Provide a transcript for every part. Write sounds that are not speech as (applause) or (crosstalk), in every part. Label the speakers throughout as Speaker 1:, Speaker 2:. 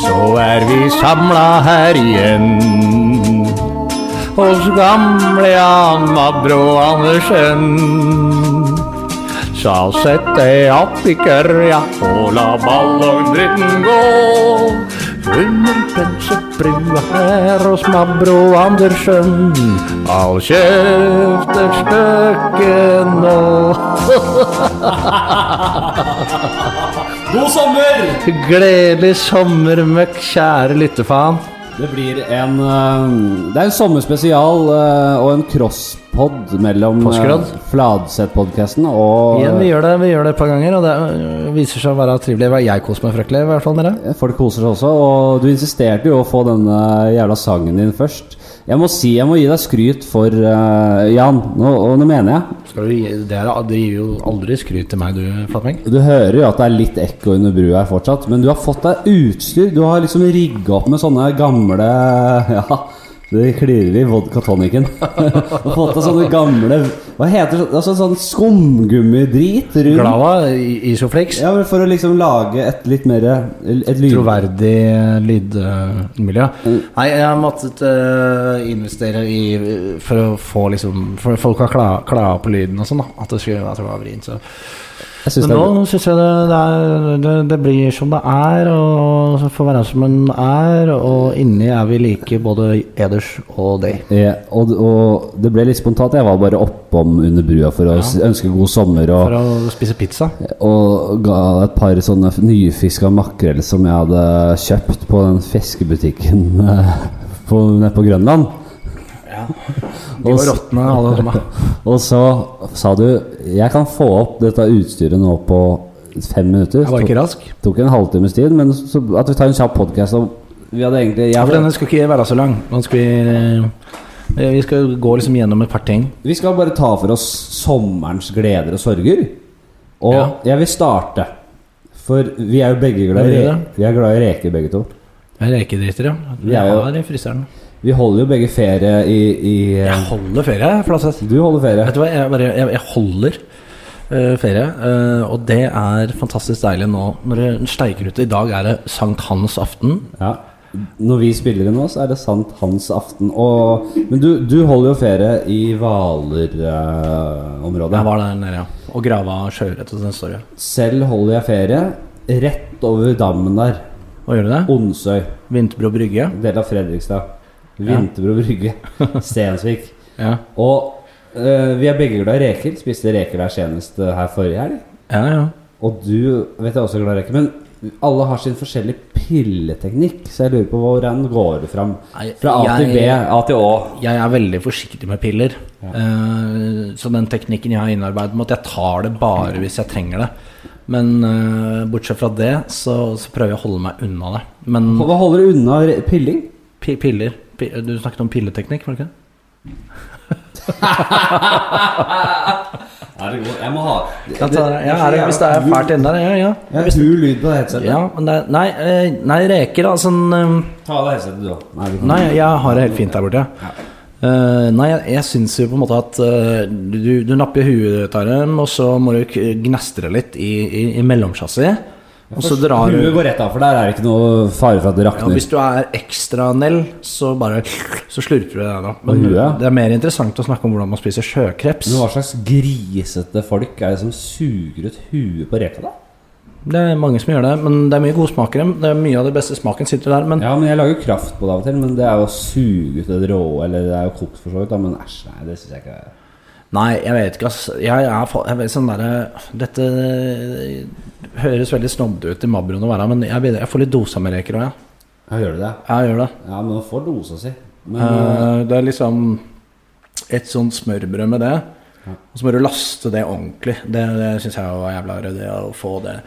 Speaker 1: Så er vi samla her igjen hos gamle Amma Brå Andersen. Sa sett deg opp i kørja og la ballongdritten gå. Under pølsebrua her hos Mabro Andersen. All kjeft er støkket nå.
Speaker 2: God sommer!
Speaker 1: Gledelig sommermøkk, kjære lyttefaen.
Speaker 2: Det blir en eh, Det er en sommerspesial eh, og en crosspod mellom
Speaker 1: Påskerodd?
Speaker 2: eh, Fladseth-podkasten og
Speaker 1: Igjen, vi gjør det vi gjør det et par ganger, og det øh, viser seg å være trivelig. Hva, Jeg koser meg fryktelig, i hvert fall dere.
Speaker 2: eh, Folk koser seg også. Og du insisterte jo å få denne jævla sangen din først. Jeg må si, jeg må gi deg skryt for eh, Jan, nå, og nå mener jeg.
Speaker 1: Skal du, gi- det, er, det gir jo aldri skryt til meg, du, Flatmeng.
Speaker 2: Du hører jo at det er litt ekko under brua her fortsatt, men du har fått deg utstyr. Du har liksom rigga opp med sånne gamle (laughs) Ja, det klirrer i vodka tonicen. (laughs) Du har fått deg sånne gamle Hva heter det? Altså sånn skumgummidrit
Speaker 1: Mm.
Speaker 2: rundt.
Speaker 1: Glava, i- Isoflix.
Speaker 2: Ja, men For å liksom lage et litt mer Et lyd...
Speaker 1: Troverdig lydmiljø. Nei, jeg har måttet øh, investere i For å få liksom For folk har kla- klaga på lyden og sånn, da. At det, skulle, at det var vrient. Så
Speaker 2: Jeg synes det
Speaker 1: Men
Speaker 2: er
Speaker 1: nå syns jeg det, det, er, det, det blir som det er, og så får være som en er, og inni er vi like både eders og deg.
Speaker 2: Ja, og, og det ble litt spontant. Jeg var bare oppom under brua for å s- ønske god sommer. Og,
Speaker 1: For å spise pizza.
Speaker 2: Og ga et par sånne nyfiska makrell som jeg hadde kjøpt på den fiskebutikken eh, på, nede på Grønland.
Speaker 1: De var råtne, alle sammen.
Speaker 2: Og så sa du 'Jeg kan få opp dette utstyret nå på fem minutter'.
Speaker 1: Jeg var ikke
Speaker 2: Tok-
Speaker 1: rask.
Speaker 2: Tok en halvtimes tid, men så, at vi tar en kjapp podkast om Vi hadde egentlig jeg
Speaker 1: Ja, for
Speaker 2: hadde,
Speaker 1: denne skal ikke være så lang. Nå skal vi, eh, vi skal gå liksom gjennom et par ting.
Speaker 2: Vi skal bare ta for oss sommerens gleder og sorger. Og
Speaker 1: Ja.
Speaker 2: jeg vil starte. For vi er jo begge glad i,
Speaker 1: Hva er
Speaker 2: re- vi er glad i reker, begge to.
Speaker 1: Jeg er Rekedriter, ja.
Speaker 2: Ja,
Speaker 1: Jeg
Speaker 2: ja.
Speaker 1: har i fryseren.
Speaker 2: Vi holder jo begge ferie i, i eh,
Speaker 1: Jeg holder ferie, Flatseth.
Speaker 2: Du holder ferie.
Speaker 1: Vet du hva, jeg, bare, jeg, jeg holder eh, ferie, eh, og det er fantastisk deilig nå når det steiker ute. I dag er det sankthansaften.
Speaker 2: Ja. Når vi spiller inn nå, så er det sant hans aften. Og, men du, du holder jo ferie i Hvaler-området.
Speaker 1: Jeg var der nede, ja. Og grava sjøørret og den står jo.
Speaker 2: Selv holder jeg ferie rett over dammen der.
Speaker 1: Hva gjør du det?
Speaker 2: Onsøy,
Speaker 1: Vinterbro brygge.
Speaker 2: del av Fredrikstad.
Speaker 1: (laughs)
Speaker 2: Vinterbro brygge. Stensvik.
Speaker 1: Ja.
Speaker 2: Og eh, vi er begge glad i reker. Spiste reker der senest eh, her forrige helg.
Speaker 1: Ja, ja.
Speaker 2: Og du vet jeg også er glad i reker. Men alle har sin forskjellige pilleteknikk, så jeg lurer på hvordan går det fram?
Speaker 1: Nei,
Speaker 2: Fra A til B,
Speaker 1: jeg-
Speaker 2: A til Å.
Speaker 1: Jeg er veldig forsiktig med piller. Eh, så den teknikken jeg har innarbeidet med at jeg tar det bare hvis jeg trenger det. Men eh, bortsett fra det, så, så prøver jeg å holde meg unna det. Men
Speaker 2: Hva holder du unna re- pilling?
Speaker 1: pi piller pi Du snakket om pilleteknikk, var det ikke det?
Speaker 2: Er det god? Jeg må ha
Speaker 1: Ja, er det- hvis det er fælt inni der, ja, ja.
Speaker 2: Jeg har hul lyd på det headsetet.
Speaker 1: ja men det er, nei, eh, nei, reker, altså en, eh,
Speaker 2: Ta av deg headsetet, du òg. Nei, vi kan-
Speaker 1: Nei, jeg har det helt fint der borte. Eh, nei, jeg, jeg syns jo på en måte at eh, du, du napper huet av dem, og så må du k- gnestre litt i, i, i mellomsjassiet. Og så drar
Speaker 2: Huet
Speaker 1: du
Speaker 2: går rett av, for der er det ikke noe fare for at det
Speaker 1: ja,
Speaker 2: rakner.
Speaker 1: Hvis du er ekstra nell, så bare Så slurper du det der, da.
Speaker 2: Og huet?
Speaker 1: det er mer interessant å snakke om hvordan man spiser sjøkreps.
Speaker 2: Men hva slags grisete folk er det som suger ut huet på reka, da?
Speaker 1: Det er mange som gjør det, men det er mye godsmakere. Det er mye av det beste smaken sitter der, men
Speaker 2: Ja, men jeg lager jo kraft på det av og til, men det er jo å suge ut det rå, eller det er jo kokt for så vidt, da, men æsj, nei, det syns jeg ikke er
Speaker 1: Nei, jeg vet ikke, ass. Jeg er, fa- jeg vet, sånn der, dette eh, høres veldig snobbete ut i Mabroen å være, men jeg, begynner- jeg får litt dosa med reker òg, jeg.
Speaker 2: Ja, gjør du det?
Speaker 1: Ja, Jeg gjør det.
Speaker 2: Ja, men man får dosa si. Men
Speaker 1: Eh, det er liksom et sånt smørbrød med det, og så må du laste det ordentlig. Det, det syns jeg var jævla rødt, det å få det.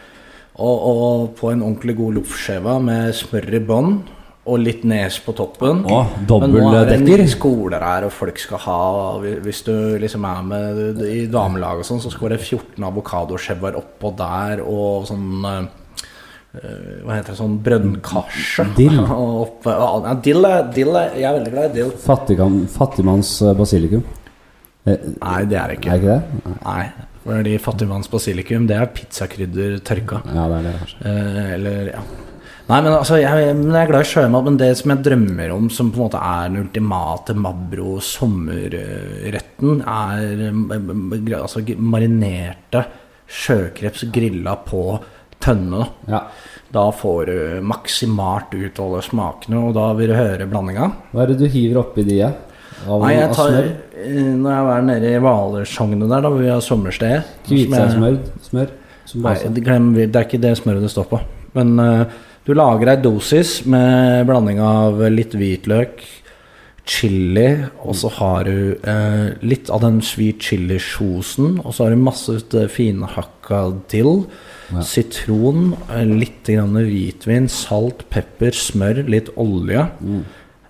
Speaker 1: Og, og på en ordentlig god loffskive med smør i bånn. Og litt nes på toppen.
Speaker 2: Å,
Speaker 1: Men nå er det nye
Speaker 2: dobbeltdekker.
Speaker 1: skoler her, og folk skal ha og hvi- Hvis du liksom er med i damelaget og sånn, så skal det være 14 avokadoshever oppå der, og sånn eh, eh, Hva heter det sånn brønnkarse? (laughs)
Speaker 2: Dill.
Speaker 1: Og oppe, og, ja, dill, er, dill er, Jeg er veldig glad i dill.
Speaker 2: Fattigmann- Fattigmanns eh, basilikum. Eh,
Speaker 1: Nei, det er det
Speaker 2: Er det
Speaker 1: ikke.
Speaker 2: ikke det?
Speaker 1: Nei. Fordi fattigmanns basilikum, det er pizzakrydder tørka.
Speaker 2: Ja, det er det, kanskje.
Speaker 1: Eh, eller, ja. Nei, men altså, jeg, men jeg er glad i sjømat, men det som jeg drømmer om, som på en måte er den ultimate Mabro-sommerretten, er eh, m- m- altså, g- marinerte sjøkreps grilla på tønne. da.
Speaker 2: Ja.
Speaker 1: Da får du maksimalt ut alle smakene, og da vil du høre blandinga.
Speaker 2: Hva er det du hiver oppi de, ja? Av,
Speaker 1: Nei, jeg
Speaker 2: av
Speaker 1: tar,
Speaker 2: smør?
Speaker 1: eh, når jeg var nede i Hvalersogne der, da hvor vi har sommersted som jeg-
Speaker 2: Hvitsaussmør? Smør? Som
Speaker 1: Nei,
Speaker 2: base?
Speaker 1: det- glem, det er ikke det smøret det står på. Men eh, du lager ei dosis med blanding av litt hvitløk, chili, og så har du eh, litt av den sweet chili-sjosen, og så har du masse ut, eh, finhakka dill, sitron, eh, litt grann hvitvin, salt, pepper, smør, litt olje,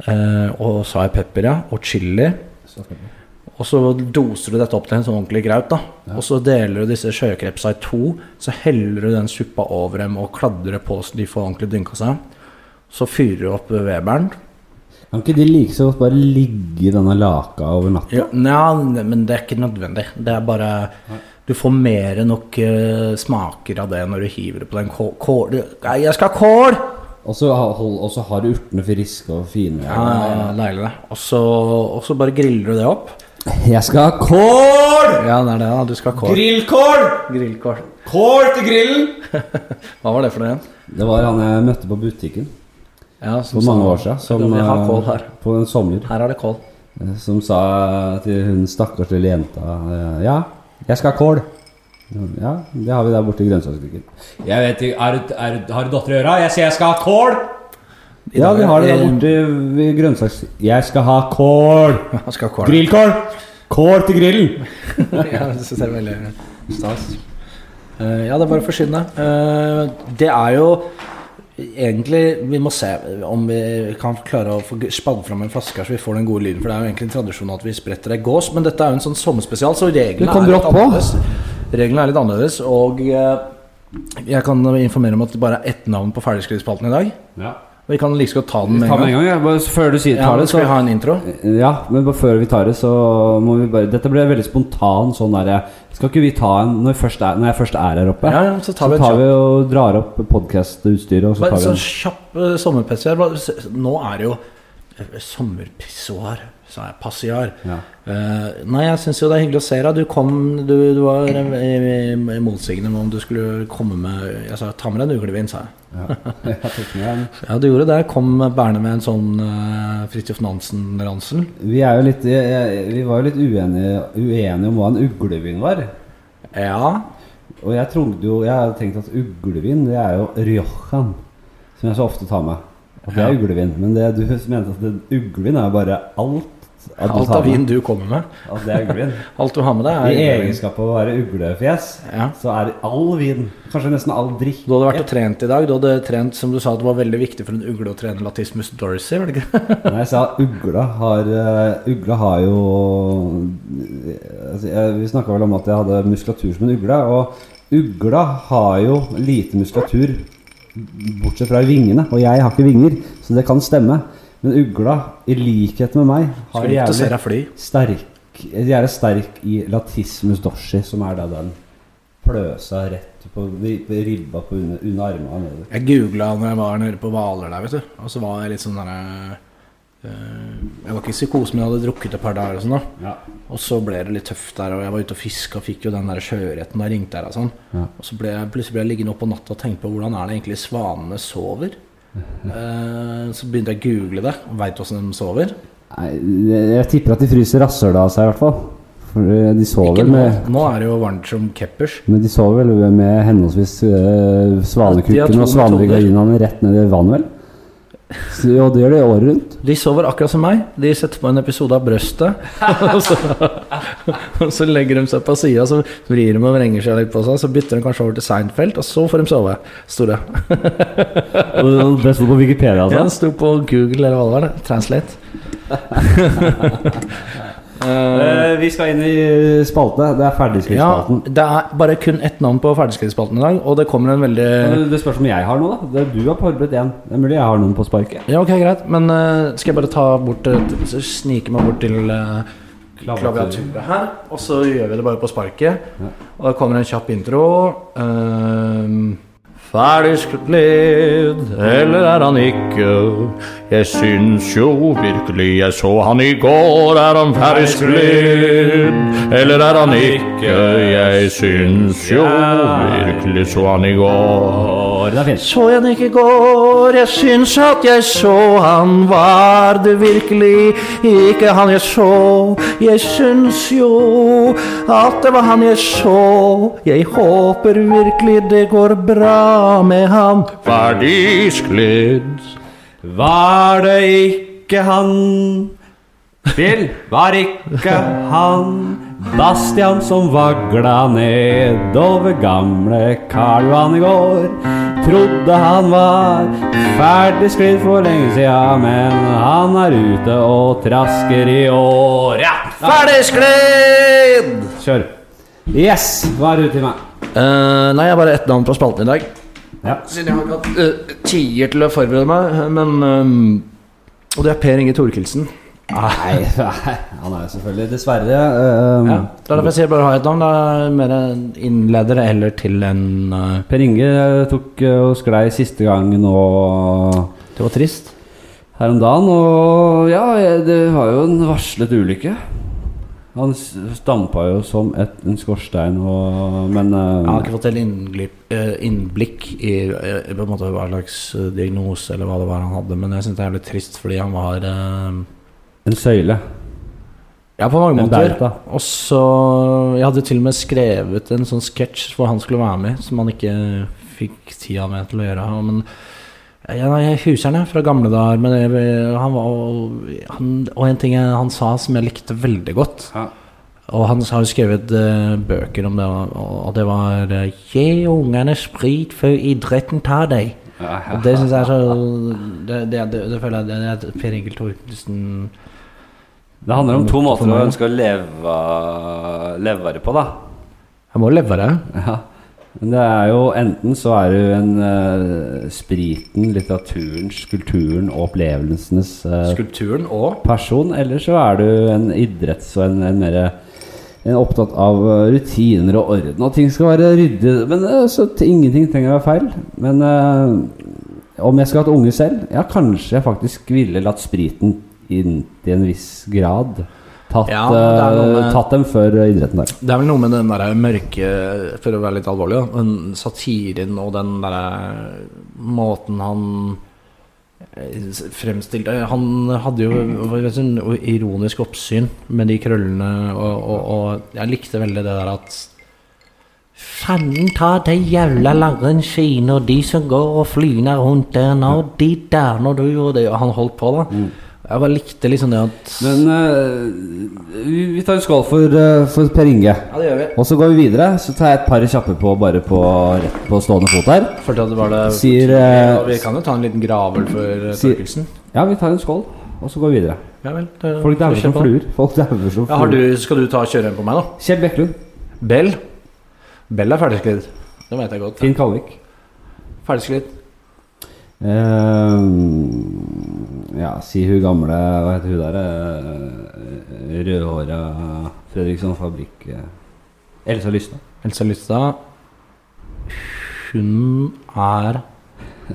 Speaker 1: eh, og så har jeg pepper, ja, og chili. Og så doser du dette opp til en sånn ordentlig graut. da. Og så deler du disse sjøkrepsa i to. Så heller du den suppa over dem og kladrer på så de får ordentlig dynka seg. Så fyrer du opp weberen.
Speaker 2: Kan ikke de like så godt bare ligge i denne laka over natta?
Speaker 1: Ja, nja, men det er ikke nødvendig. Det er bare Du får mer enn nok eh, smaker av det når du hiver det på den kål... kål Nei, jeg skal ha kål!
Speaker 2: Og så ha- hold- og så har du urtene friske og fine.
Speaker 1: Ja, Ah, Deilig, det. Og så, og så bare griller du det opp.
Speaker 2: Jeg skal ha kål!
Speaker 1: Ja, det er det. da, Du skal ha kål.
Speaker 2: Grillkål!
Speaker 1: Grillkål. (laughs)
Speaker 2: Kål til grillen!
Speaker 1: Hva var det for noe igjen?
Speaker 2: Det var han jeg møtte på butikken
Speaker 1: Ja, som
Speaker 2: for mange
Speaker 1: sa-
Speaker 2: år siden. Som,
Speaker 1: Vi har
Speaker 2: eh,
Speaker 1: kål her.
Speaker 2: På en sommer.
Speaker 1: Her er det kål.
Speaker 2: eh, Som sa til hun stakkars lille jenta eh, Ja, jeg skal ha kål. Ja, det har vi der borte i grønnsaksbutikken. Jeg vet ikke, Har du datter i øra? Jeg sier jeg skal ha kål!
Speaker 1: I
Speaker 2: Ja,
Speaker 1: dag
Speaker 2: vi har det
Speaker 1: er-
Speaker 2: der borte i grønnsaks... Jeg skal ha kål!
Speaker 1: (laughs) Jeg skal ha kål.
Speaker 2: Grillkål! Kål til grillen!
Speaker 1: (laughs) ja, det synes jeg er veldig stas. Eh, ja, det er bare å forsyne. Uh, det er jo egentlig Vi må se om vi kan klare å få spanne fram en flaske her, så vi får den gode lyden. For det er jo egentlig en tradisjon at vi spretter ei gås, men dette er jo en sånn sommerspesial, så
Speaker 2: Det
Speaker 1: reglene
Speaker 2: kom
Speaker 1: er litt
Speaker 2: brått på.
Speaker 1: annerledes. Reglene er litt annerledes, og eh, jeg kan informere om at det bare er ett navn på ferdigskrivspalten i dag.
Speaker 2: Ja.
Speaker 1: Vi kan like så godt ta den med
Speaker 2: Ta med en
Speaker 1: en gang.
Speaker 2: gang, ja. bare før du sier
Speaker 1: Ja,
Speaker 2: tar det,
Speaker 1: skal
Speaker 2: så
Speaker 1: vi ha en intro?
Speaker 2: Ja, men bare før vi tar det, så må vi bare Dette ble veldig spontan sånn derre Skal ikke vi ta en når, vi først er, når jeg først er her oppe?
Speaker 1: Ja, ja, så tar vi en
Speaker 2: tar vi og drar opp podkastutstyret, og så
Speaker 1: Bare
Speaker 2: tar vi
Speaker 1: sånn
Speaker 2: en
Speaker 1: kjapp eh, sommerpessiar. Hva- s- Nå er det jo eh, sommerpissoar, sa jeg. Passiar.
Speaker 2: Ja.
Speaker 1: Eh, nei, jeg syns jo det er hyggelig å se deg. Du kom Du, du var eh, eh, motsigende med om du skulle komme med Jeg sa ta med deg en uglevin, sa jeg.
Speaker 2: ja. (laughs) Jeg tok med en.
Speaker 1: Ja, du gjorde det. Kom bærende med en sånn uh, Fridtjof Nansen-ransel.
Speaker 2: Vi er jo litt jeg- jeg- Vi var jo litt uenige, uenige om hva en uglevin var.
Speaker 1: Ja.
Speaker 2: Og jeg trodde jo Jeg hadde tenkt at uglevin, det er jo Riojan. Som jeg så ofte tar med. At det er uglevin. Men det du mente at det, uglevin er jo bare alt. At du
Speaker 1: Alt
Speaker 2: tar
Speaker 1: av vin
Speaker 2: med.
Speaker 1: du kommer med.
Speaker 2: At det er uglevin.
Speaker 1: Alt du har med
Speaker 2: I
Speaker 1: deg, er uglevin.
Speaker 2: egenskap av å være uglefjes,
Speaker 1: Ja.
Speaker 2: så er all vin, kanskje nesten all drikk
Speaker 1: Du hadde vært og trent i dag. Du hadde trent, som du sa, det var veldig viktig for en ugle å trene Latismus Dorsey, var det ikke? (laughs)
Speaker 2: Nei, jeg sa ugla har eh, Ugla har jo altså, jeg, Vi snakka vel om at jeg hadde muskulatur som en ugle. Og ugla har jo lite muskulatur bortsett fra i vingene. Og jeg har ikke vinger, så det kan stemme. Men ugla, i likhet med meg, har
Speaker 1: Skulle likt å se
Speaker 2: jævlig
Speaker 1: deg fly.
Speaker 2: sterk De er sterk i latismus dorsi, som er da den pløsa rett på, på ribba på under, under armene og nedover.
Speaker 1: Jeg googla når jeg var nede på Hvaler der, vet du. Og så var jeg litt sånn derre Jeg var ikke i psykose, men jeg hadde drukket et par dager og sånn, da.
Speaker 2: Ja.
Speaker 1: Og så ble det litt tøft der, og jeg var ute og fiska og fikk jo den der sjøørreten og ringte her og sånn.
Speaker 2: Ja.
Speaker 1: Og så ble jeg, plutselig ble jeg liggende opp på natta og tenke på hvordan er det egentlig svanene
Speaker 2: (laughs)
Speaker 1: sover. Eh, så begynte jeg å google det, og veit åssen de sover.
Speaker 2: Nei, jeg- jeg tipper at de fryser rasshølet av seg i hvert fall. For eh, de sover
Speaker 1: Ikke
Speaker 2: vel
Speaker 1: nå,
Speaker 2: med,
Speaker 1: nå er det jo varmt som keppers.
Speaker 2: men de sover vel med henholdsvis eh,
Speaker 1: Ja, de har to
Speaker 2: svanekukken og svanegardinene rett ned i vannet, vel? Så, og det gjør de året rundt.
Speaker 1: De sover akkurat som meg. De setter på en episode av Brøstet. (laughs) og, så, og så legger de seg på sida, så vrir de og vrenger seg litt på seg. Så bytter de kanskje over til Seinfeld, og så får de sove. Sto det.
Speaker 2: Og det sto på
Speaker 1: Ja,
Speaker 2: Wikipedia, altså.
Speaker 1: det sto på Google eller hva det var. det, Translate. (laughs) Eh,
Speaker 2: Eh, vi skal inn i spalte. Det er
Speaker 1: ja,
Speaker 2: ferdigskriftspalten.
Speaker 1: det er bare kun ett navn på ferdigskriftspalten i dag, og det kommer en veldig
Speaker 2: Men Det spørs om jeg har noe, da. Det er du har forberedt én. Det er mulig jeg har noen på sparket.
Speaker 1: Ja, ok, greit, men eh, skal jeg bare ta bort eh, t- så Snike meg bort til eh, klaviaturet her, og så gjør vi det bare på sparket.
Speaker 2: Ja.
Speaker 1: Og da kommer en kjapp intro. Um, Ferdigsklidd, eller er han ikke? Jeg syns jo virkelig jeg så han i går. Er han ferdigsklidd, eller er han ikke? Jeg syns jo virkelig så han i går.
Speaker 2: Året er fint.
Speaker 1: Så jeg han ikke i går, jeg syns at jeg så han var det virkelig ikke han jeg så. Jeg syns jo at det var han jeg så. Jeg håper virkelig det går bra med han. Ferdigsklidd.
Speaker 2: Var det ikke han Bill var ikke han Bastian som vagla nedover gamle Karl Johan i går. Trodde han var ferdig sklidd for lenge sia, men han er ute og trasker i år. Ja!
Speaker 1: Ferdigsklidd!
Speaker 2: Kjør. Yes! Hva er det til meg?
Speaker 1: Eh, nei, jeg har bare ett navn fra spalten i dag.
Speaker 2: Ja.
Speaker 1: Siden jeg har ikke hatt eh, tider til å forberede meg, men eh, Og det er Per Inge Thorkildsen.
Speaker 2: Nei, (laughs) nei, han er jo selvfølgelig Dessverre. eh,
Speaker 1: Ja, det er derfor jeg sier bare ha et navn. Det er mer en innleder eller til en eh,
Speaker 2: Per Inge tok eh, og sklei siste gang nå
Speaker 1: Det var trist.
Speaker 2: her om dagen, og ja, jeg- det var jo en varslet ulykke. Han s- stampa jo som et, en skorstein, og, men eh,
Speaker 1: Jeg har ikke fått helt innglipp- eh, innblikk i eh, på en måte hva slags eh, diagnose eller hva det var han hadde, men jeg syns det er jævlig trist fordi han var eh,
Speaker 2: en søyle.
Speaker 1: Ja, på mange
Speaker 2: En
Speaker 1: måter.
Speaker 2: bauta.
Speaker 1: Og så Jeg hadde til og med skrevet en sånn sketsj hvor han skulle være med, som han ikke fikk tida med til å gjøre. Men ja, nei, jeg husker han, jeg, fra gamle dager. Men jeg, han var han, Og en ting jeg, han sa som jeg likte veldig godt.
Speaker 2: Ja.
Speaker 1: Og han har jo skrevet eh, bøker om det, og og det var eh, 'Gi ungene sprit før idretten tar deg'. Og det syns jeg er så Det, det, det, det føler jeg det, det er Per Egil Thorkildsen
Speaker 2: Det handler om to måter
Speaker 1: For meg.
Speaker 2: å ønske å leve, leve det på, da.
Speaker 1: Jeg må leve det.
Speaker 2: Ja. Men det er jo enten så er du en eh, spriten, litteraturens, kulturen og opplevelsenes eh,
Speaker 1: Skulpturen og
Speaker 2: person, eller så er du en idretts- og en, en mer en opptatt av eh, rutiner og orden, og ting skal være ryddig. Men eh, så t- ingenting trenger å være feil. Men eh, om jeg skulle hatt unge selv, ja, kanskje jeg faktisk ville latt spriten inn til en viss grad. Tatt,
Speaker 1: Ja, det er noe
Speaker 2: eh,
Speaker 1: med-
Speaker 2: tatt dem før idretten der.
Speaker 1: Det er vel noe med den der mørke For å være litt alvorlig, da. Den satiren og den derre måten han eh, s- fremstilte Han hadde jo hva vet du, noe ironisk oppsyn med de krøllene, og, og, og jeg likte veldig det der at Fanden ta de jævla langrennsskiene og de som går og flyner rundt der nå, de der når du gjorde det Og han holdt på, da. Jeg bare likte liksom det at
Speaker 2: Men eh, vi, vi tar en skål for, eh, for Per Inge.
Speaker 1: Ja, det gjør vi.
Speaker 2: Og så går vi videre. Så tar jeg et par kjappe på bare på, rett på stående fot her.
Speaker 1: Følte at det var det
Speaker 2: Sier, eh,
Speaker 1: Vi kan jo ta en liten gravøl for eh,
Speaker 2: sier-
Speaker 1: Torkelsen.
Speaker 2: Ja, vi tar en skål, og så går vi videre.
Speaker 1: Ja vel. det-
Speaker 2: Folk dauer
Speaker 1: kjør
Speaker 2: som
Speaker 1: på.
Speaker 2: fluer. Folk dauer som
Speaker 1: Ja, har
Speaker 2: fluer.
Speaker 1: du, skal du ta og kjøre en på meg, da?
Speaker 2: Kjell Bekkelund.
Speaker 1: Bell. Bell er ferdigsklidd. Det vet jeg godt.
Speaker 2: Finn Kalvik.
Speaker 1: Ferdigsklidd.
Speaker 2: Eh, ja, si hun gamle Hva heter hun der? eh, Rødhåra Fredriksson Fabrikk eh, Elsa Lystad.
Speaker 1: Elsa Lystad Hun er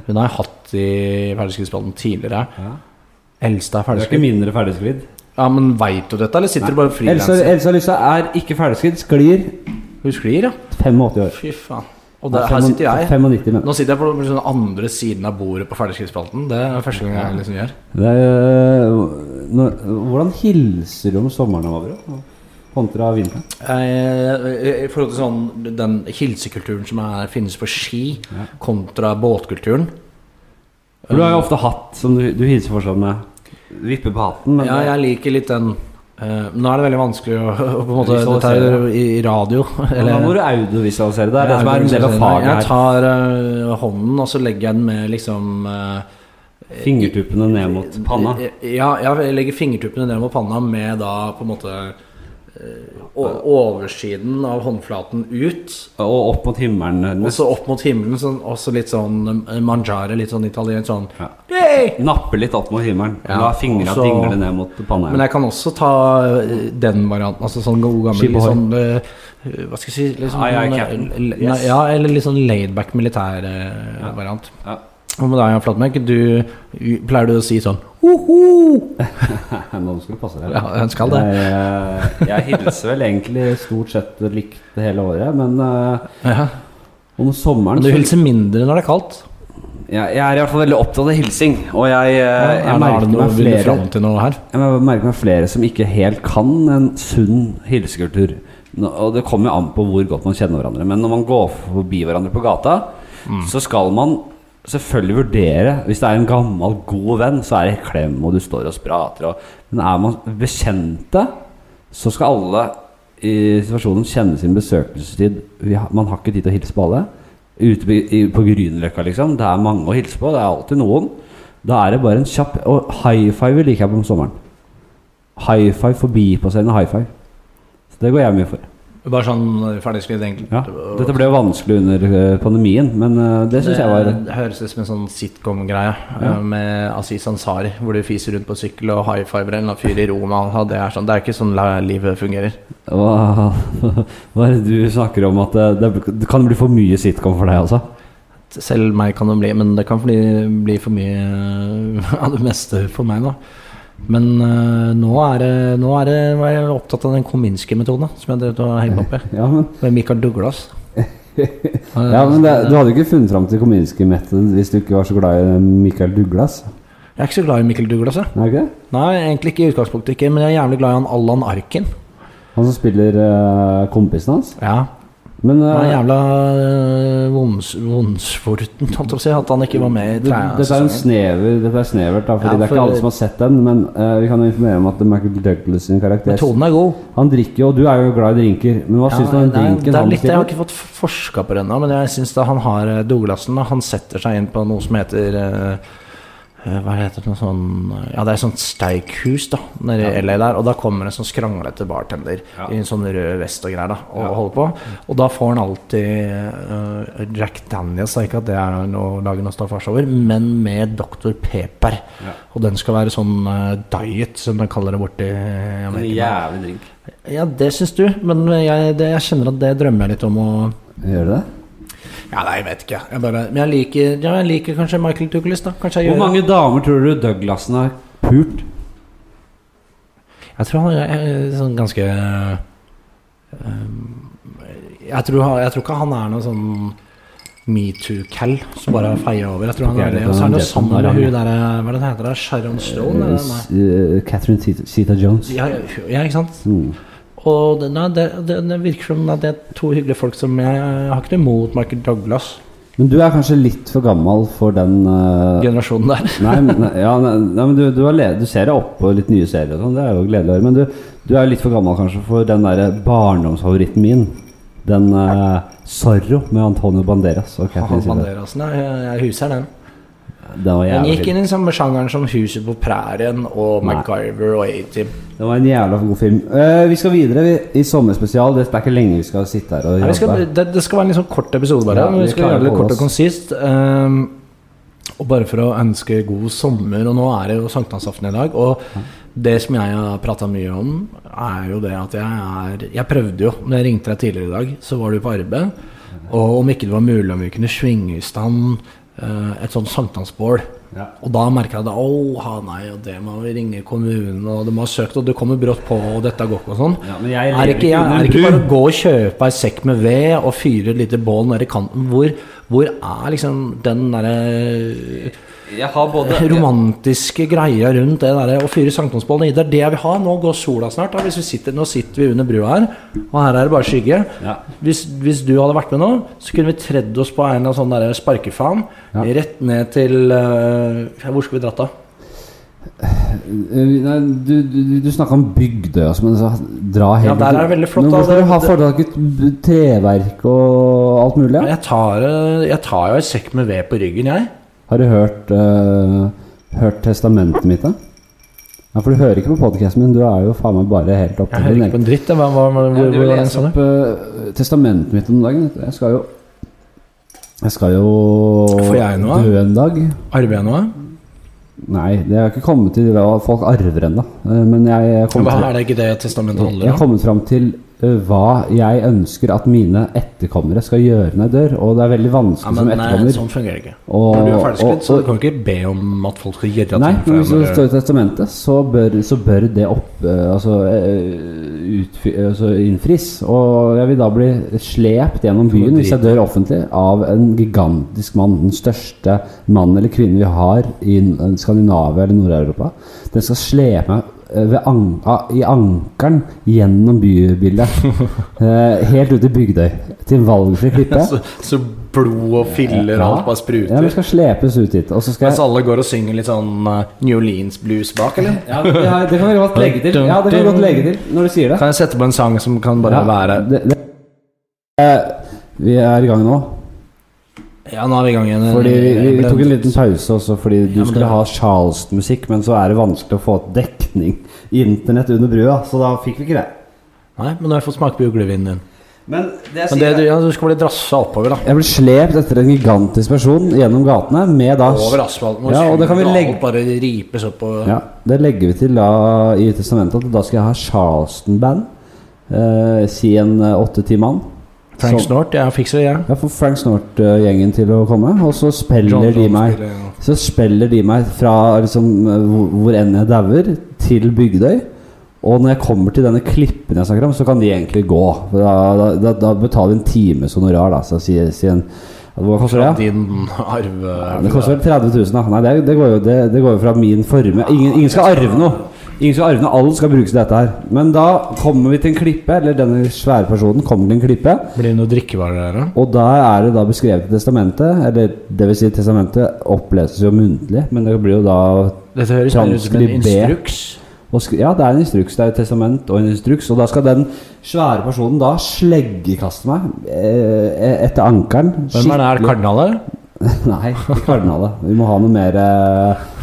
Speaker 1: Hun har jeg hatt i ferdigskridsballen tidligere.
Speaker 2: Ja.
Speaker 1: Elstad er
Speaker 2: Du er ikke
Speaker 1: ferdigsklidd.
Speaker 2: mindre ferdigsklidd?
Speaker 1: Ja, men veit du dette, eller sitter du bare
Speaker 2: Elsa,
Speaker 1: frilanser?
Speaker 2: Elsa Lystad er ikke ferdigsklidd. Sklir
Speaker 1: Hun sklir, ja.
Speaker 2: 85 år.
Speaker 1: Fy faen. Og der, her sitter jeg.
Speaker 2: 95, mener jeg.
Speaker 1: Nå sitter jeg på den andre siden av bordet på ferdigskridsspalten. Det er første gang jeg liksom gjør.
Speaker 2: Det er, øh, når, hvordan hilser du om sommeren over, kontra vinteren?
Speaker 1: Eh, I forhold til sånn, den hilsekulturen som er, finnes på ski, kontra båtkulturen.
Speaker 2: For du har jo ofte hatt som du, du hilser for sånn med vippe på hatten. Men
Speaker 1: Um, Ja, jeg liker litt den eh, Nå er det veldig vanskelig å, (laughs) å på en måte Dette er
Speaker 2: Visualisere.
Speaker 1: jo i i radio.
Speaker 2: eller, da må
Speaker 1: eller-
Speaker 2: du audiovisualisere det. Det er det som er en del av faget
Speaker 1: Jeg
Speaker 2: her.
Speaker 1: tar eh, hånden, og så legger jeg den med liksom eh,
Speaker 2: Fingertuppene ned mot panna.
Speaker 1: Ja, jeg legger fingertuppene ned mot panna med da på en måte eh, o- Oversiden av håndflaten ut,
Speaker 2: Og opp mot himmelen.
Speaker 1: og
Speaker 2: nærmest.
Speaker 1: så opp mot himmelen. Sånn, også litt sånn eh, mangiare, litt sånn italiensk sånn
Speaker 2: Ja.
Speaker 1: «Hey!»
Speaker 2: Nappe litt opp mot himmelen.
Speaker 1: Ja,
Speaker 2: La fingra
Speaker 1: og så-
Speaker 2: dingle ned mot panna.
Speaker 1: Men jeg kan også ta eh, den varianten. Altså sånn god gammel
Speaker 2: Skip
Speaker 1: litt
Speaker 2: ohoi.
Speaker 1: sånn eh, Hva skal jeg si liksom,
Speaker 2: Aye, aye,
Speaker 1: sånn, eh,
Speaker 2: Captain.
Speaker 1: l- nei,
Speaker 2: Yes.
Speaker 1: Ja, eller litt sånn laidback militær eh, variant.
Speaker 2: Ja. (laughs)
Speaker 1: Hva med deg, Jan Flatmark? Du u- pleier du å si sånn Hoho!
Speaker 2: Nå skal du passe deg.
Speaker 1: Ja, jeg skal det.
Speaker 2: Jeg, eh, jeg hilser vel egentlig stort sett likt hele året, men eh,
Speaker 1: Ja.
Speaker 2: om sommeren
Speaker 1: Men du hilser mindre når det er kaldt.
Speaker 2: jeg, jeg er i hvert fall veldig opptatt av hilsing, og jeg, eh,
Speaker 1: Er det-
Speaker 2: jeg,
Speaker 1: er det
Speaker 2: merker
Speaker 1: noe
Speaker 2: meg
Speaker 1: vil du
Speaker 2: flere,
Speaker 1: fram til noe her?
Speaker 2: jeg merker meg flere som ikke helt kan en sunn hilsekultur. Nå- Og det kommer jo an på hvor godt man kjenner hverandre, men når man går forbi hverandre på gata, så skal man selvfølgelig vurdere Hvis det er en gammel, god venn, så er det klem, og du står og prater, og Men er man bekjente, så skal alle i situasjonen kjenne sin besøkelsestid. Vi har, man har ikke tid til å hilse på alle. Ute på, i, på Grünerløkka, liksom. Det er mange å hilse på. Det er alltid noen. Da er det bare en kjapp Og high five liker jeg på om sommeren. High five forbipasserende high five. Så det går jeg mye for.
Speaker 1: Bare sånn eh, ferdigskrevet, egentlig.
Speaker 2: Ja. Dette ble jo vanskelig under eh, pandemien, men eh, det syns jeg var
Speaker 1: Det høres ut som en sånn sitcom-greie eh, med Aziz Ansari, hvor du fiser rundt på sykkel og high fiver en eller annen fyr i Roma. og Det er, sånn, det er ikke sånn la- livet fungerer.
Speaker 2: Hva, (laughs) hva er det du snakker om? At eh, det, det, det kan bli for mye sitcom for deg, altså?
Speaker 1: Selv meg kan det bli, men det kan bli, bli for mye eh, (laughs) av det meste for meg, da. Men eh, nå, er det, nå er det, nå er jeg opptatt av den Kominski-metoden da, som jeg drev og hengte meg opp i.
Speaker 2: Ja, men
Speaker 1: Med Michael Douglas.
Speaker 2: Ja, men det, Du hadde jo ikke funnet fram til kominsky method hvis du ikke var så glad i eh, Michael Douglas.
Speaker 1: Jeg er ikke så glad i Michael Douglas, jeg.
Speaker 2: Er du ikke det?
Speaker 1: Nei, egentlig ikke i utgangspunktet ikke, men jeg er jævlig glad i han Allan Arkin.
Speaker 2: Han som spiller eh, kompisen hans.
Speaker 1: Ja,
Speaker 2: Men
Speaker 1: Han er
Speaker 2: eh,
Speaker 1: jævla øh, vonds, vondsvorten, holdt jeg på å si, at han ikke var med i
Speaker 2: det, dette er jo en
Speaker 1: treningssesongen.
Speaker 2: snever, dette er snevert, da,
Speaker 1: altså.
Speaker 2: fordi
Speaker 1: Ja,
Speaker 2: det er
Speaker 1: for-
Speaker 2: ikke alle som har sett den. Men eh, vi kan jo informere om at Michael Douglas sin karakter
Speaker 1: Metoden er god.
Speaker 2: Han drikker jo, og du er jo glad i drinker. Men hva
Speaker 1: Ja,
Speaker 2: syns du om den
Speaker 1: det, er,
Speaker 2: drinken
Speaker 1: det er
Speaker 2: han
Speaker 1: litt, Jeg har
Speaker 2: bestiller?
Speaker 1: ikke fått forska på det ennå, men jeg syns han har eh, Douglassen da, Han setter seg inn på noe som heter eh, eh, Hva heter det noe sånn Ja, det er et sånt steikhus da nede i LA der, og da kommer en sånn skranglete bartender
Speaker 2: Ja.
Speaker 1: i en sånn rød vest og greier da, og holder på. Og da får han alltid eh, Jack Daniels, da, ikke at det er noe å lage noe staffasje over, men med Dr. Pepper. Og den skal være sånn eh, diet, som de kaller det borti Amerika.
Speaker 2: jævlig drink.
Speaker 1: Ja, det syns du, men jeg, det, jeg kjenner at det drømmer jeg litt om å
Speaker 2: Gjør du det?
Speaker 1: Ja, nei, jeg vet ikke. Jeg bare, men jeg liker, ja, jeg liker kanskje Michael Douglas, da. Kanskje jeg
Speaker 2: Hvor
Speaker 1: gjør
Speaker 2: mange damer tror du Douglasen har pult?
Speaker 1: det. Jeg tror han er eh, sånn ganske eh, jeg, tror, han- jeg tror ikke han er noe sånn metoo-cal som bare feier over. Jeg tror han
Speaker 2: Ok,
Speaker 1: er det.
Speaker 2: dette
Speaker 1: Og så
Speaker 2: er
Speaker 1: er han jo
Speaker 2: Jason
Speaker 1: sammen med
Speaker 2: Baran,
Speaker 1: hun der eh, Hva er det hun heter? da? Sharon Stone?
Speaker 2: Eh,
Speaker 1: eller? Nei.
Speaker 2: s- eh, Catherine Zeta Jones.
Speaker 1: Ja, ja, ja, ikke sant?
Speaker 2: Mm.
Speaker 1: Og det, nei, det, det, det virker som at det er to hyggelige folk som Jeg, jeg har ikke noe imot Michael Douglas,
Speaker 2: Men du er kanskje litt for gammel for den eh,
Speaker 1: generasjonen der.
Speaker 2: Nei, men- nei, ja, nei, nei, men du, du, har le- du ser deg opp på litt nye serier og sånn, det er jo gledelig å høre. Men du, du er jo litt for gammel kanskje for den derre barndomsfavoritten min. Den eh, Zorro med Antonio Banderas. Og Catherine
Speaker 1: Han
Speaker 2: Zeta.
Speaker 1: Banderasen, ja. Jeg, jeg huser den.
Speaker 2: Den var
Speaker 1: Den
Speaker 2: jævla
Speaker 1: gikk
Speaker 2: fin.
Speaker 1: inn i samme sjangeren som Huset på prærien og
Speaker 2: Nei.
Speaker 1: MacGyver og A-Team.
Speaker 2: Det var en jævla god film. Eh, vi skal videre vi, i sommerspesial. Det er ikke lenge vi skal sitte her og
Speaker 1: Nei, vi skal-
Speaker 2: jobbe.
Speaker 1: Det, det skal være en litt sånn kort episode, bare.
Speaker 2: Ja,
Speaker 1: men vi,
Speaker 2: vi
Speaker 1: skal
Speaker 2: klarer
Speaker 1: gjøre det
Speaker 2: å
Speaker 1: litt
Speaker 2: holde
Speaker 1: kort og
Speaker 2: oss.
Speaker 1: konsist. ehm, og bare for å ønske god sommer, og nå er det jo sankthansaften i dag. Og det som jeg har prata mye om, er jo det at jeg er Jeg prøvde jo, når jeg ringte deg tidligere i dag, så var du på arbeid. Og om ikke det var mulig, om vi kunne svinge i stand eh, et sånt sankthansbål.
Speaker 2: Ja.
Speaker 1: Og da merka jeg da Å, nei, og det må vi ringe kommunen, og de har søkt, og du kommer brått på, og dette går ikke, og sånn.
Speaker 2: Ja, men
Speaker 1: er
Speaker 2: jeg lever
Speaker 1: det ikke,
Speaker 2: ikke
Speaker 1: er
Speaker 2: under en
Speaker 1: det ikke
Speaker 2: bru.
Speaker 1: bare gå og kjøpe ei sekk med ved og fyre et lite bål nede i kanten. Hvor, hvor er liksom den derre
Speaker 2: Jeg har
Speaker 1: romantiske greia rundt det derre å fyre sankthansbål nedi? Det er det jeg vil ha. Nå går sola snart. Da. Hvis vi sitter, nå sitter vi under brua her, og her er det bare skygge.
Speaker 2: Ja.
Speaker 1: Hvis, hvis du hadde vært med nå, så kunne vi tredd oss på en eller annen sånn derre sparkefan
Speaker 2: Ja.
Speaker 1: rett ned til eh, Hvor skulle vi dratt da?
Speaker 2: Eh, Nei, du du, du snakka om Bygdøy også, men så dra hele
Speaker 1: Ja, der er det veldig flott, altså. da.
Speaker 2: Men hvorfor skal
Speaker 1: Det-
Speaker 2: du ha
Speaker 1: det-
Speaker 2: foretaket treverk og alt mulig? Ja?
Speaker 1: Jeg tar, eh, jeg tar jo ei sekk med ved på ryggen, jeg.
Speaker 2: Har du hørt eh, hørt testamentet mitt, da? Ja, For du hører ikke på podkasten min, du er jo faen meg bare helt oppe
Speaker 3: Jeg hører ikke på en dritt. jeg. Hva, hva, hva,
Speaker 2: Ja,
Speaker 3: hvor,
Speaker 2: du
Speaker 3: hvor var den,
Speaker 2: leser
Speaker 3: sa du?
Speaker 2: opp eh, testamentet mitt om dagen. vet du. Jeg skal jo Jeg skal jo
Speaker 1: Får jeg noe?
Speaker 2: dø en dag.
Speaker 1: Arver jeg noe?
Speaker 2: Nei, det har ikke kommet til hva folk arver ennå. Eh, Men jeg jeg kom
Speaker 1: Hva
Speaker 2: til-
Speaker 1: er det ikke det testamentet
Speaker 2: jeg
Speaker 1: handler
Speaker 2: har
Speaker 1: om?
Speaker 2: kommet fram til eh, hva jeg ønsker at mine etterkommere skal gjøre når jeg dør. Og det er
Speaker 1: Ja,
Speaker 2: veldig vanskelig
Speaker 1: men
Speaker 2: som
Speaker 1: nei,
Speaker 2: etterkommer.
Speaker 1: sånn fungerer det ikke.
Speaker 2: Og-
Speaker 1: Når du er ferdigskritt, så
Speaker 2: og-
Speaker 1: du kan ikke be om at folk skal gjøre ting
Speaker 2: Nei,
Speaker 1: for
Speaker 2: men
Speaker 1: deg.
Speaker 2: hvis det
Speaker 1: når du-
Speaker 2: står i testamentet, så bør, så bør det opp eh, altså, eh, utfy, altså innfris. Og jeg vil da bli slept gjennom byen hvis jeg dør offentlig av en gigantisk mann. Den største mann eller kvinne vi har i eh, Skandinavia eller Nord-Europa. Den skal slepe meg eh, ved an a- i ankeren
Speaker 1: (laughs)
Speaker 2: gjennom bybildet. Eh, helt ut i Bygdøy. Til
Speaker 1: (laughs)
Speaker 2: en valgfri
Speaker 1: (laughs)
Speaker 2: klippe.
Speaker 1: Så, så blod og filler og alt bare
Speaker 2: Ja,
Speaker 1: spruter.
Speaker 2: men skal slepes ut dit. Og så skal
Speaker 1: Mens
Speaker 2: jeg
Speaker 1: alle går og synger litt sånn eh, New Orleans-blues bak, eller?
Speaker 2: Ja, det, har- det kan vi godt legge til. Ja, det kan vi godt legge til når du sier det.
Speaker 1: Kan jeg sette på en sang som kan bare
Speaker 2: Ja,
Speaker 1: være
Speaker 2: det, det. Eh, Vi er i gang nå.
Speaker 1: Ja, nå er vi i gang igjen.
Speaker 2: Fordi vi, vi, vi tok en liten pause også fordi du
Speaker 1: men
Speaker 2: skulle
Speaker 1: det-
Speaker 2: ha Charleston-musikk, men så er det vanskelig å få dekning i internett under brua, så da fikk vi ikke det.
Speaker 1: Nei, men nå har jeg fått smake på juglevinen din.
Speaker 2: Men det jeg
Speaker 1: Men det, du, ja, du skal bli drassa oppover, da.
Speaker 2: Jeg ble slept etter en gigantisk person gjennom gatene med da
Speaker 1: Over asfalten. hvor
Speaker 2: Ja, og det kan vi
Speaker 1: alt
Speaker 2: legge-
Speaker 1: Bare ripes opp og
Speaker 2: Ja, det legger vi til da i testamentet at da skal jeg ha Charleston-band. Eh, si en eh, åtte-ti mann.
Speaker 1: Frank
Speaker 2: Som-
Speaker 1: Snort, jeg fikser det, jeg.
Speaker 2: Jeg får Frank Snort-gjengen til å komme, og så spiller de meg Så spiller de meg fra liksom, eh, hvor- hvor enn jeg dauer, til Bygdøy. Og når jeg kommer til denne klippen jeg snakker om, så kan de egentlig gå. For Da, da, da, da betaler de en times honorar, da. Så sier si en Hva koster det?
Speaker 1: Din arv
Speaker 2: Ja, det koster vel 30 000, da. Nei, det, det, går jo, det, det går jo fra min formue. Ingen, ingen skal arve noe. Ingen skal arve noe, Alt skal brukes til dette her. Men da kommer vi til en klippe, eller denne svære personen kommer til en klippe.
Speaker 1: Blir det noe drikkevarer der, da?
Speaker 2: Og der er det da beskrevet i testamentet, eller det vil si testamentet oppleses jo muntlig, men det blir jo da
Speaker 1: Dette høres mer ut som en
Speaker 2: Transkribert.
Speaker 1: instruks.
Speaker 2: og sk- Ja, det er en instruks, det er et testament og en instruks, og da skal den svære personen da sleggekaste meg eh, etter ankelen.
Speaker 1: Hvem er det her? Kardinalet?
Speaker 2: (laughs) Nei, ikke kardinalet. Vi må ha noe mer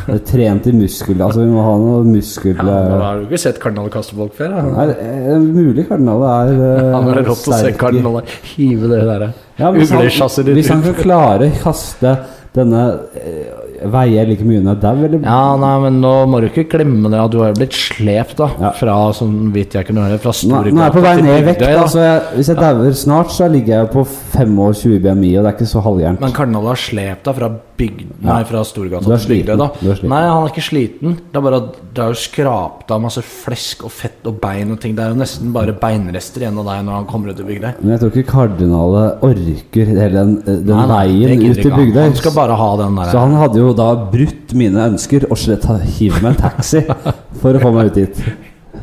Speaker 2: eh, trent i muskel, altså vi må ha noe muskel...
Speaker 1: Ja, nå
Speaker 2: eh,
Speaker 1: har du ikke sett kardinalet kaste folk før? Da.
Speaker 2: Nei, eh, mulig kardinalet er
Speaker 1: (laughs)
Speaker 2: eh,
Speaker 1: Ja, men det er rått å se
Speaker 2: sterk i-
Speaker 1: kardinalet hive det derre
Speaker 2: Ja, hvis,
Speaker 1: uglesjasset
Speaker 2: han,
Speaker 1: ditt
Speaker 2: hvis han
Speaker 1: ut.
Speaker 2: kan klare å kaste denne eh, veier like mye når jeg dau, eller
Speaker 1: Ja, nei, men nå må du ikke glemme det at du har jo blitt slept, da.
Speaker 2: Ja.
Speaker 1: Fra, som vidt jeg kunne høre, fra
Speaker 2: Nå,
Speaker 1: Storegata
Speaker 2: nå er jeg på vei
Speaker 1: til
Speaker 2: ned i vekt,
Speaker 1: Bygdøy,
Speaker 2: da, så jeg, hvis jeg dauer snart, så ligger jeg jo på 25 i BMI, og det er ikke så halvgærent.
Speaker 1: Men kardinalet har slept deg fra, bygd... nei, fra
Speaker 2: Du er
Speaker 1: Storgata til Bygdøy,
Speaker 2: sliten.
Speaker 1: da.
Speaker 2: Du er sliten.
Speaker 1: Nei, han er ikke sliten. Det er bare at det er jo skrapt av masse flesk og fett og bein og ting. Det er jo nesten bare beinrester igjen av deg når han kommer ut til Bygdøy.
Speaker 2: Men jeg tror ikke kardinalet orker hele den, eh, den
Speaker 1: Nei, nei, det gidder
Speaker 2: veien ut til
Speaker 1: ikke han.
Speaker 2: Bygdøy.
Speaker 1: Han skal bare ha den der.
Speaker 2: Så han hadde jo da brutt mine ønsker og slett ha- hivet meg en taxi for å få meg ut dit.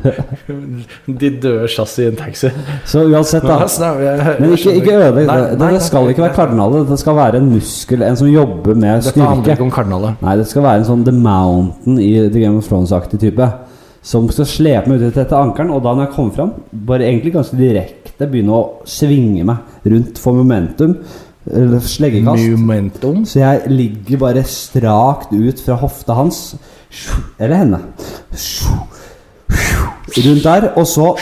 Speaker 1: De døde chassis i en (laughs) taxi.
Speaker 2: Så uansett, da. Men ikke, ikke ødelegg det. Det- Det skal ikke være kardinalet, det skal være en muskel, en som jobber med
Speaker 1: Dette handler
Speaker 2: styrke.
Speaker 1: ikke om kardinalet.
Speaker 2: Nei, det skal være en sånn The Mountain i The Game of Thrones-aktig type. Som skal slepe meg ut etter ankeren, og da når jeg kommer fram, bare egentlig ganske direkte begynne å svinge meg rundt for momentum. Eller sleggekast.
Speaker 1: Momentum.
Speaker 2: Så jeg ligger bare strakt ut fra hofta hans. Eller henne. Rundt der, og så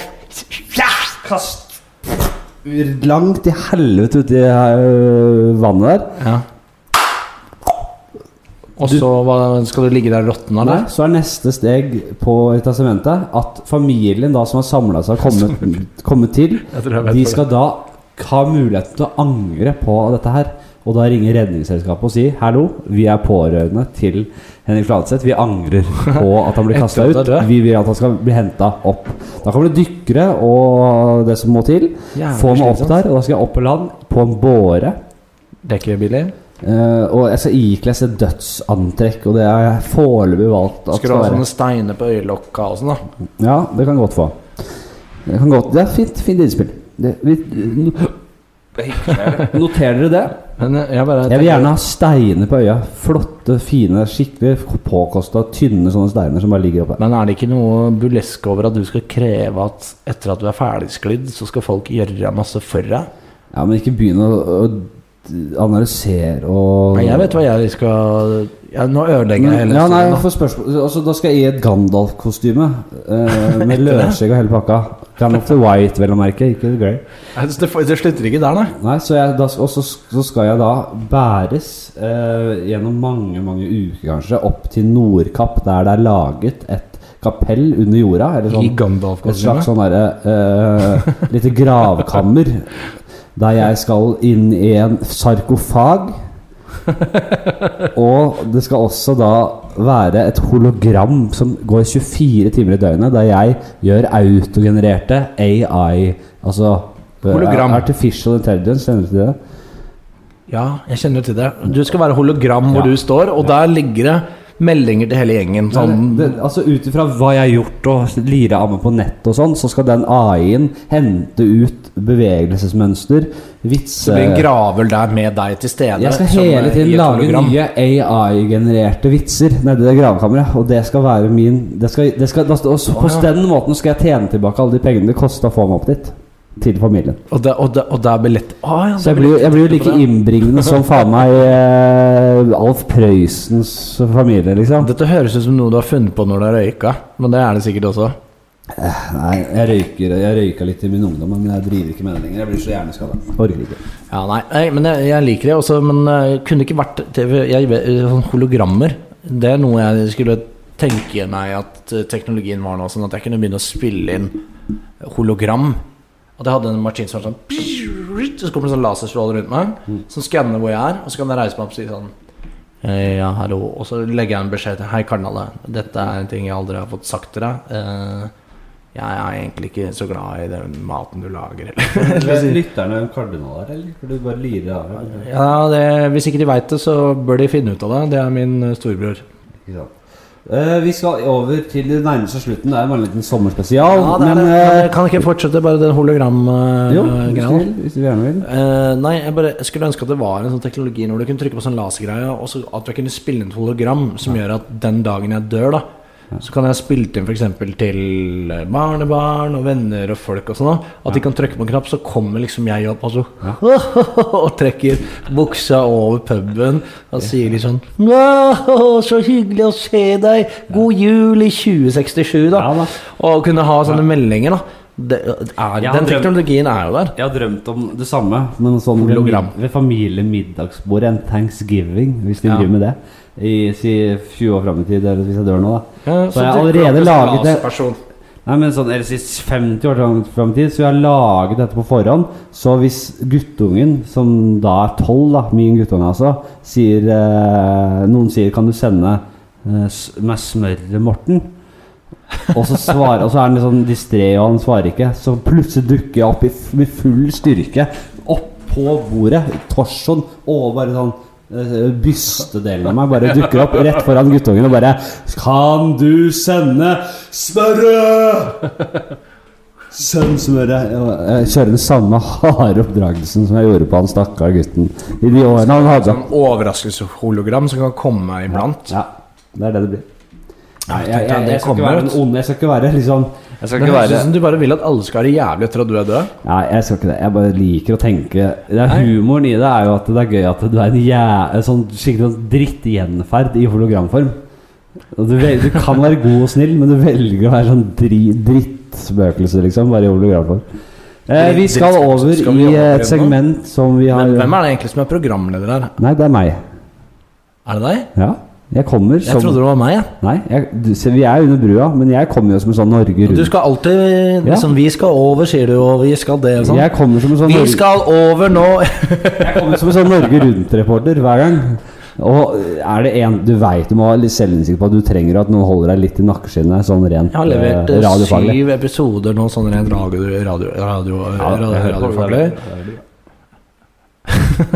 Speaker 2: Kast! Langt i helvete uti øh, vannet der.
Speaker 1: Ja. Og så hva- skal du ligge der råtten,
Speaker 2: Nei,
Speaker 1: eller?
Speaker 2: så er neste steg på testamentet at familien da som har samla seg og
Speaker 1: (laughs)
Speaker 2: kommet, kommet til,
Speaker 1: Jeg tror jeg vet
Speaker 2: de
Speaker 1: hva
Speaker 2: skal da ha muligheten til å angre på dette her. Og da ringer Redningsselskapet og sier 'Hallo, vi er pårørende til Henrik Fladseth'. 'Vi angrer på at han blir
Speaker 1: (laughs)
Speaker 2: kasta
Speaker 1: Etter
Speaker 2: ut.
Speaker 1: at han er død.
Speaker 2: Vi vil at han skal bli henta opp'. Da kommer det dykkere og det som må til.
Speaker 1: Jævlig
Speaker 2: Få meg opp
Speaker 1: slitsomt.
Speaker 2: der, og da skal jeg opp på land på en båre.
Speaker 1: Det er ikke billig.
Speaker 2: Eh, og jeg skal ikles et dødsantrekk, og det har jeg foreløpig valgt at
Speaker 1: Skal du ha sånne steiner på øyelokka og sånn, da?
Speaker 2: Ja, det kan godt få. Det, kan godt, det er fint, fint innspill. Det, vi, no- noterer dere det?
Speaker 1: Men eh, jeg bare
Speaker 2: Jeg vil gjerne ha steiner på øya. Flotte, fine, skikkelig påkosta, tynne sånne steiner som bare ligger oppe.
Speaker 1: Men er det ikke noe burlesk over at du skal kreve at etter at du er ferdigsklidd, så skal folk gjøre masse for deg?
Speaker 2: Ja, Men ikke begynn å, å analysere og
Speaker 1: Nei, jeg vet hva jeg skal Ja, nå ødelegger jeg hele
Speaker 2: Ja, nei,
Speaker 1: historien. da.
Speaker 2: for spørsmål altså, Da skal jeg i et Gandalf-kostyme.
Speaker 1: (laughs)
Speaker 2: eh, med løsskjegg og hele pakka. Gandalf the White, vel å merke. Ikke the Grey.
Speaker 1: Nei, Altså, det, det slutter ikke der, nei.
Speaker 2: Nei, så jeg, da, og så, så skal jeg da bæres eh, gjennom mange mange uker, kanskje, opp til Nordkapp, der det er laget et kapell under jorda. Eller
Speaker 1: I
Speaker 2: sånn, et slags
Speaker 1: Gandalf-kostyme.
Speaker 2: sånn derre eh, lite gravkammer. Der jeg skal inn i en sarkofag. Og det skal også da være et hologram som går 24 timer i døgnet, der jeg gjør autogenererte AI Altså eh,
Speaker 1: Hologram.
Speaker 2: Artificial Intelligence, kjenner du til det?
Speaker 1: sånn- Ja, jeg kjenner til det. Du skal være hologram hvor
Speaker 2: Ja.
Speaker 1: du står, og der ligger det meldinger til hele gjengen. Sånn,
Speaker 2: Nei, det, altså Ut ifra hva jeg har gjort og lira av meg på nett og sånn, så skal den AI-en hente ut bevegelsesmønster,
Speaker 1: så blir en
Speaker 2: vitser
Speaker 1: gravel der med deg til stede.
Speaker 2: Jeg skal
Speaker 1: som,
Speaker 2: hele
Speaker 1: eh, i
Speaker 2: tiden
Speaker 1: et
Speaker 2: lage
Speaker 1: hologram.
Speaker 2: nye AI-genererte vitser nedi det gravkammeret. Og det skal være min det skal, det skal, da- og så- På
Speaker 1: Å,
Speaker 2: den måten skal jeg tjene tilbake alle de pengene det kosta å få meg opp dit. Til familien.
Speaker 1: Og det, og det, og det er billett Å ja, det
Speaker 2: Så jeg
Speaker 1: er
Speaker 2: blir, jo-
Speaker 1: billett.
Speaker 2: jeg blir jo like innbringende som faen meg eh, Alf Prøysens familie, liksom.
Speaker 1: Dette høres ut som noe du har funnet på når du har røyka, men det er det sikkert også.
Speaker 2: Eh, Nei, jeg røyker Jeg røyka litt i min ungdom, men jeg driver ikke med det lenger. Jeg blir så hjerneskada. Orker ikke.
Speaker 1: Ja, nei, nei men jeg, jeg liker det også, men eh, kunne det ikke vært TV, jeg, vet- sånn hologrammer. Det er noe jeg skulle tenke meg at eh, teknologien var nå, sånn at jeg kunne begynne å spille inn hologram. At jeg hadde en maskin som var sånn Så kommer det sånn laserstråler rundt meg, som skanner hvor jeg er, og så kan jeg reise meg opp og si sånn eh, ja, hallo. Og så legger jeg en beskjed til Hei, Karnalle. Dette er en ting jeg aldri har fått sagt til deg. Eh, jeg er egentlig ikke så glad i den maten du lager. eller-
Speaker 2: Lytterne kardinaler, eller? For du bare lirer av dem?
Speaker 1: Ja, det, Hvis ikke de veit det, så bør de finne ut av det. Det er min eh, storebror.
Speaker 2: Ikke sant. Eh, vi skal over til det nærmeste slutten. Det er bare en liten sommerspesial.
Speaker 1: Ja, det er,
Speaker 2: men
Speaker 1: det.
Speaker 2: eh,
Speaker 1: Men kan ikke jeg fortsette bare den eh,
Speaker 2: jo, hvis du,
Speaker 1: hologram-greia?
Speaker 2: vil, hvis du gjerne vil.
Speaker 1: Eh, nei, jeg bare jeg skulle ønske at det var en sånn teknologi når du kunne trykke på sånn lasergreie, og så at jeg kunne spille inn et hologram som gjør at den dagen jeg dør, da, så kan jeg spille inn f.eks. til eh, barnebarn og venner og folk og sånn. da. At de kan trykke på en knapp, så kommer liksom jeg opp og så (laughs) og trekker buksa over puben og sier litt sånn «Wow, Så hyggelig å se deg! God jul i 2067, da.
Speaker 2: Ja, da.
Speaker 1: Og kunne ha sånne meldinger, da. Det er,
Speaker 2: Ja,
Speaker 1: den
Speaker 2: drøm-
Speaker 1: teknologien er jo der.
Speaker 2: Jeg har drømt om det samme, men sånn ved,
Speaker 1: Hologram.
Speaker 2: mid- ved familiemiddagsbordet en thanksgiving, hvis de
Speaker 1: Ja.
Speaker 2: driver med det. I si 20 år fram i tid, eller hvis jeg dør nå, da.
Speaker 1: Ja,
Speaker 2: så
Speaker 1: dukker det
Speaker 2: jeg har
Speaker 1: opp
Speaker 2: allerede
Speaker 1: en
Speaker 2: laget det
Speaker 1: laserperson.
Speaker 2: Nei, men sånn, eller si 50 år fram- fram i tid, så jeg har laget dette på forhånd. Så hvis guttungen, som da er 12, da, min guttunge altså, sier eh, Noen sier 'Kan du sende eh, s- meg smøret, Morten?' Og så, svarer, og så er han litt sånn distré, og han svarer ikke. Så plutselig dukker jeg opp i, f- med full styrke opp på bordet, i torsoen, og bare sånn eh, Bystedelen av meg bare dukker opp rett foran guttungen og bare 'Kan du sende smøret?' Send smøret. Jeg, jeg kjører den samme harde oppdragelsen som jeg gjorde på han stakkar gutten i de årene han hadde.
Speaker 1: Sånn overraskelseshologram som kan komme iblant.
Speaker 2: Ja, det er det det blir.
Speaker 1: Nei,
Speaker 2: Jeg, jeg, jeg,
Speaker 1: det
Speaker 2: skal ikke
Speaker 1: kommer
Speaker 2: være den
Speaker 1: ut.
Speaker 2: onde. Jeg skal ikke være liksom jeg skal
Speaker 1: Det
Speaker 2: ikke
Speaker 1: høres
Speaker 2: være
Speaker 1: ut som du bare vil at alle skal ha det jævlig etter at du er død.
Speaker 2: Nei, jeg skal ikke det. Jeg bare liker å tenke det er Humoren i det er jo at det er gøy at du er en jæ... en sånn skikkelig sånn drittgjenferd i hologramform. Og du, vel, du kan være god og snill, men du velger å være sånn dri, drittspøkelse, liksom. Bare i hologramform. Eh, vi skal
Speaker 1: Drittspøkelse.
Speaker 2: over
Speaker 1: Skal vi
Speaker 2: i
Speaker 1: over
Speaker 2: et
Speaker 1: nå?
Speaker 2: segment som vi har
Speaker 1: Men hvem er det egentlig som er programleder her?
Speaker 2: Nei, det er meg.
Speaker 1: Er det deg?
Speaker 2: Ja. Jeg kommer
Speaker 1: Jeg
Speaker 2: som
Speaker 1: trodde det var meg. jeg.
Speaker 2: Nei, jeg, du, se, vi er under brua, men jeg kommer jo som en sånn Norge
Speaker 1: Du
Speaker 2: Rundt.
Speaker 1: skal alltid liksom, Vi skal over, sier du, og vi skal det og sånn.
Speaker 2: Jeg kommer som en sånn
Speaker 1: Vi
Speaker 2: Norge,
Speaker 1: skal over nå! (laughs)
Speaker 2: jeg kommer som en sånn Norge Rundt-reporter hver gang. Og er det en Du veit du må ha litt selvinnsikt på at du trenger at noen holder deg litt i nakkeskinnet, sånn rent
Speaker 1: Jeg har levert
Speaker 2: eh,
Speaker 1: eh,
Speaker 2: radiofaglig.
Speaker 1: syv episoder nå, sånn rent radio, radio, radio,
Speaker 2: Ja,
Speaker 1: radio,
Speaker 2: jeg hører på det.
Speaker 1: radiofaglig. (laughs)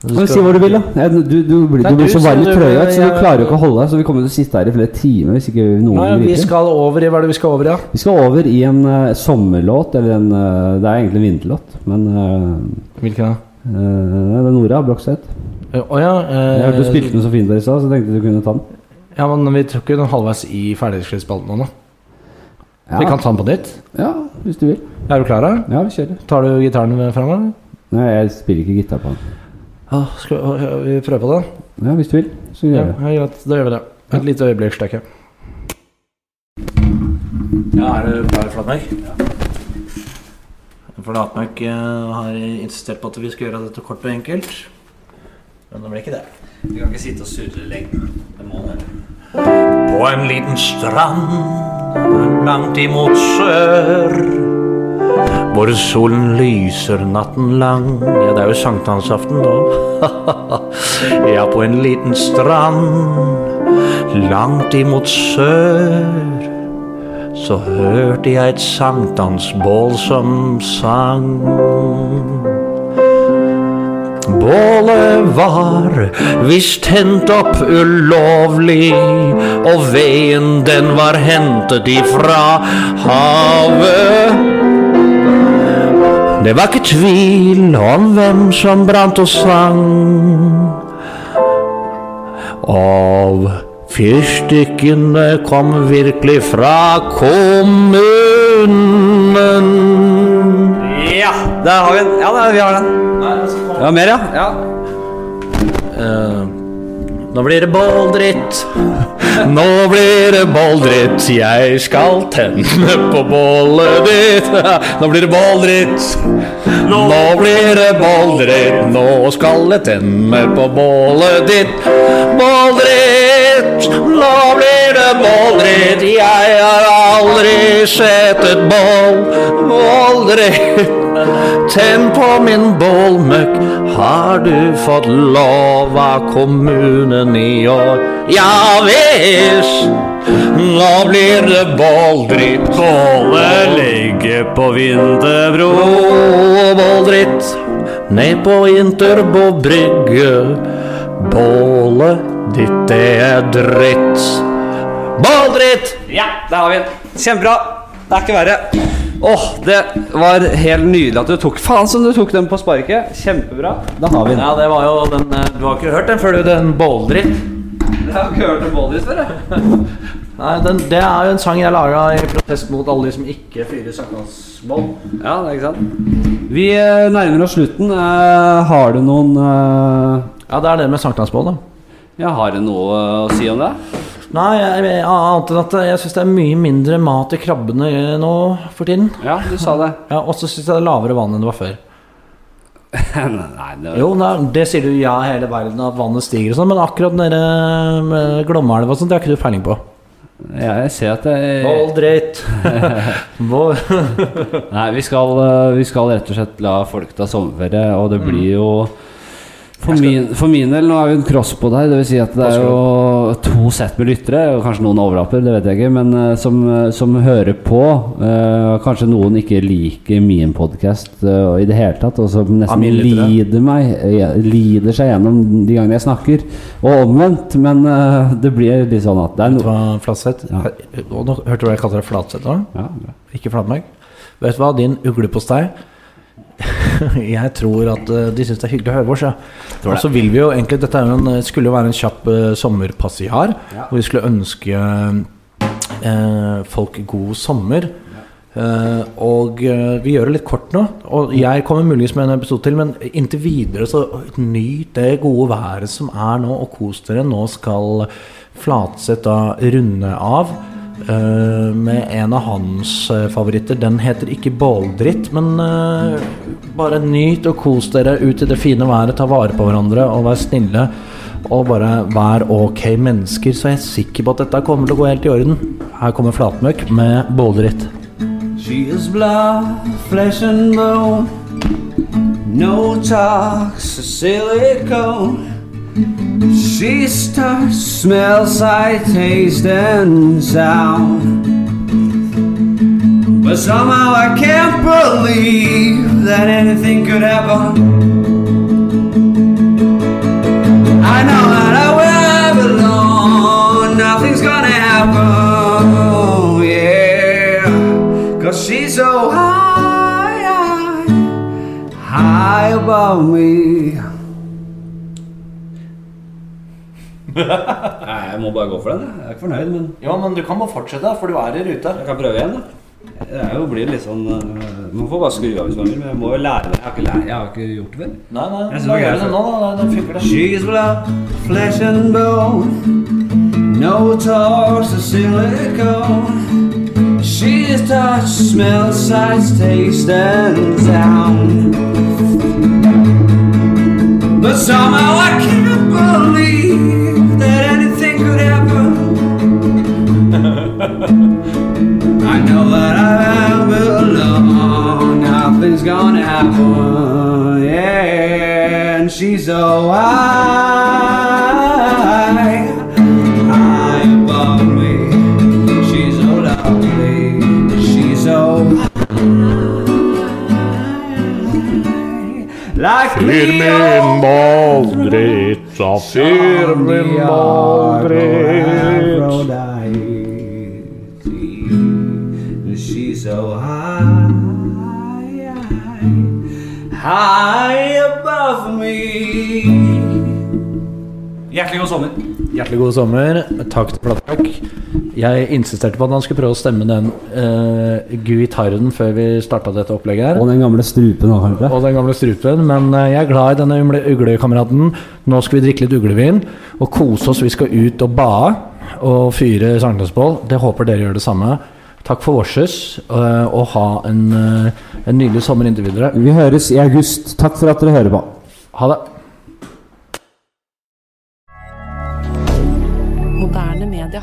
Speaker 1: Du
Speaker 2: Men
Speaker 1: skal-
Speaker 2: si hva du vil, da. Jeg- Du, du, blir-
Speaker 1: Nei,
Speaker 2: du blir
Speaker 1: du
Speaker 2: så varm i
Speaker 1: sier du-
Speaker 2: trøya at så
Speaker 1: jeg-
Speaker 2: du klarer jo ikke å holde deg. Så vi kommer til å sitte her i flere timer hvis ikke noen
Speaker 1: Nei, vi
Speaker 2: griper inn.
Speaker 1: skal over i Hva er det vi skal over i? Ja?
Speaker 2: Vi skal over i en eh, sommerlåt, eller en eh, Det er egentlig en vinterlåt, men
Speaker 1: Hvilken da?
Speaker 2: eh, eh, Det er Nora Brokseth.
Speaker 1: Å ja. eh,
Speaker 2: Jeg hørte du spilte den så fint der i stad, så tenkte jeg du kunne ta den.
Speaker 1: Ja, men vi tok jo den halvveis i ferdighetsskrittspalten nå. da. Vi
Speaker 2: Ja,
Speaker 1: kan ta den på nytt.
Speaker 2: ja hvis du vil.
Speaker 1: Er du klar? da?
Speaker 2: Ja, vi kjører.
Speaker 1: Tar du gitaren fram?
Speaker 2: Nei, jeg spiller ikke gitar på den.
Speaker 1: Ja, skal vi prøve på det?
Speaker 2: Ja, hvis du vil, så
Speaker 1: Ja,
Speaker 2: gjør det.
Speaker 1: ja, greit, da gjør vi det. Et lite øyeblikk, stekker. Ja, er du klar, Flatmark? Flatmark eh, har insistert på at vi skal gjøre dette kort og enkelt. Men det blir ikke det.
Speaker 3: Vi kan ikke sitte og surre lenge. Det må det.
Speaker 4: På en liten strand langt imot sør Hvor solen lyser natten lang Ja, det er jo sankthansaften nå (laughs) Ja, på en liten strand langt imot sør Så hørte jeg et sankthansbål som sang Bålet var visst tent opp ulovlig, og veden den var hentet ifra havet. Det var ikke tvil om hvem som brant og sang. Og fyrstikkene kom virkelig fra kommunen.
Speaker 3: Ja! Der har vi den. Ja, der, vi har den. Ja, mer, ja. ja.
Speaker 4: Eh, Nå blir det båldritt. (laughs) Nå blir det båldritt. Jeg skal tenne på bålet ditt. (laughs) Nå blir det båldritt. Nå blir det båldritt. Nå skal jeg tenne på bålet ditt. Båldritt. Nå blir det båldritt. Jeg har aldri sett et bål. Båldritt. Tenn på min bålmøkk, har du fått lov av kommunen i år? Ja visst! Nå blir det båldritt. Bålet ligger på Vinterbro. Båldritt ned på Interbo brygge. Bålet ditt, det er dritt. Båldritt!
Speaker 3: Ja, der har vi den. Kjempebra. Det er ikke verre. Åh, det var helt nydelig at du tok Faen som du tok den på sparket. Kjempebra.
Speaker 2: Da har vi den.
Speaker 4: Ja, det var jo den eh, Du har ikke hørt den før, du. Den båldritt.
Speaker 3: Jeg har ikke hørt om Bollys før, jeg.
Speaker 4: Nei, den, Det er jo en sang jeg laga i protest mot alle de som ikke fyrer sankthansbål.
Speaker 3: Ja, det er ikke sant?
Speaker 2: Vi eh, nærmer oss slutten. Eh, har du noen eh,
Speaker 4: Ja, det er det med sankthansbål, da.
Speaker 3: Ja, har du noe å si om det?
Speaker 4: Nei, jeg, jeg, annet enn at jeg syns det er mye mindre mat i krabbene eh, nå for tiden.
Speaker 3: Ja, du sa det. (laughs)
Speaker 4: Ja, Og så syns jeg det er lavere vann enn det var før.
Speaker 3: Nei, det var...
Speaker 4: Jo, nei, det sier du ja hele verden, at vannet stiger og sånn, men akkurat nede med Glommaelva og sånn, det har ikke du peiling på.
Speaker 2: Jeg ser at det
Speaker 4: (laughs) Båldritt. Bål-
Speaker 2: Nei, vi skal, eh, vi skal rett og slett la folk ta sommerferie, og
Speaker 4: Mm.
Speaker 2: det blir jo for min, for min del, nå er vi en cross på deg, dvs. Si at det er jo to sett med lyttere, og kanskje noen overlapper, det vet jeg ikke, men eh, som, eh, som hører på. eh, kanskje noen ikke liker min podkast i det hele tatt, og som nesten
Speaker 4: mine lyttere.
Speaker 2: lider meg eh, Lider seg gjennom de gangene jeg snakker, og omvendt, men eh, det blir litt sånn at det er
Speaker 4: Vet du
Speaker 2: noe
Speaker 4: (laughs) hva, Flatseth?
Speaker 2: Ja.
Speaker 4: Og nå hørte du hva jeg kalte deg Flatseth nå?
Speaker 2: ja, bra.
Speaker 4: Ikke flatmark. Vet du hva, din uglepostei (laughs) Jeg tror at eh, de syns det er hyggelig å høre på oss, ja. Og så vil vi jo egentlig Dette er jo en, skulle jo være en kjapp eh, sommerpassiar, hvor vi skulle ønske eh, folk god sommer. Eh, og eh, vi gjør det litt kort nå. Og jeg kommer muligens med en episode til, men inntil videre så nyt det gode været som er nå, og kos dere. Nå skal Flatseth da runde av. eh, med en av hans eh, favoritter. Den heter ikke Båldritt, men eh, bare nyt og kos dere ut i det fine været. Ta vare på hverandre og vær snille. Og bare vær ok mennesker, så er jeg sikker på at dette kommer til å gå helt i orden. Her kommer Flatmøkk med Båldritt.
Speaker 3: She is blood, flesh and bone. No talks, silicone. She starts, smells, I taste, and sound. But somehow I can't believe that anything could happen. I know that I will belong, nothing's gonna happen, yeah. Cause she's so high, high, high above me.
Speaker 2: (laughs) Nei, jeg må bare gå for den. jeg. Jeg er ikke fornøyd, men
Speaker 4: Ja, men du kan bare fortsette, for du er i rute.
Speaker 2: jeg kan prøve igjen. da. Det er jo, blir litt sånn eh, Man får bare skru av hvis man vil, men jeg må jo lære det. Jeg har ikke, lært, jeg har ikke gjort det før.
Speaker 1: Nei, nei,
Speaker 2: Jeg synes
Speaker 1: da
Speaker 2: det er
Speaker 1: gjør vi det nå, da. Da funker det.
Speaker 2: She's without flesh and bone, no toes of silicone. She's touch, smell, sight, taste, and sound. But somehow I can't believe that anything could happen. I know that I am alone, nothing's gonna happen. Yeah, and she's so high, high above me. She's so lovely, she's so high. Like
Speaker 4: Fyr min måldritt, så fyr min måldritt.
Speaker 2: Aphrodite. She's so high, high above me. Hjertelig god sommer.
Speaker 1: Hjertelig god sommer. Takk til Plattak. Jeg insisterte på at han skulle prøve å stemme den uh,
Speaker 4: eh,
Speaker 1: guitaren før vi starta dette opplegget her.
Speaker 5: Og den gamle strupen òg, kanskje.
Speaker 1: og den gamle strupen, men eh, jeg er glad i denne umle- uglekameraten. Nå skal vi drikke litt uglevin og kose oss. Vi skal ut og bade og fyre sankthansbål. Det håper dere gjør det samme. Takk for vårses, eh, og ha en, eh, en nydelig sommer inntil videre.
Speaker 5: Vi høres i august. Takk for at dere hører på.
Speaker 1: Ha det.
Speaker 6: Moderne media.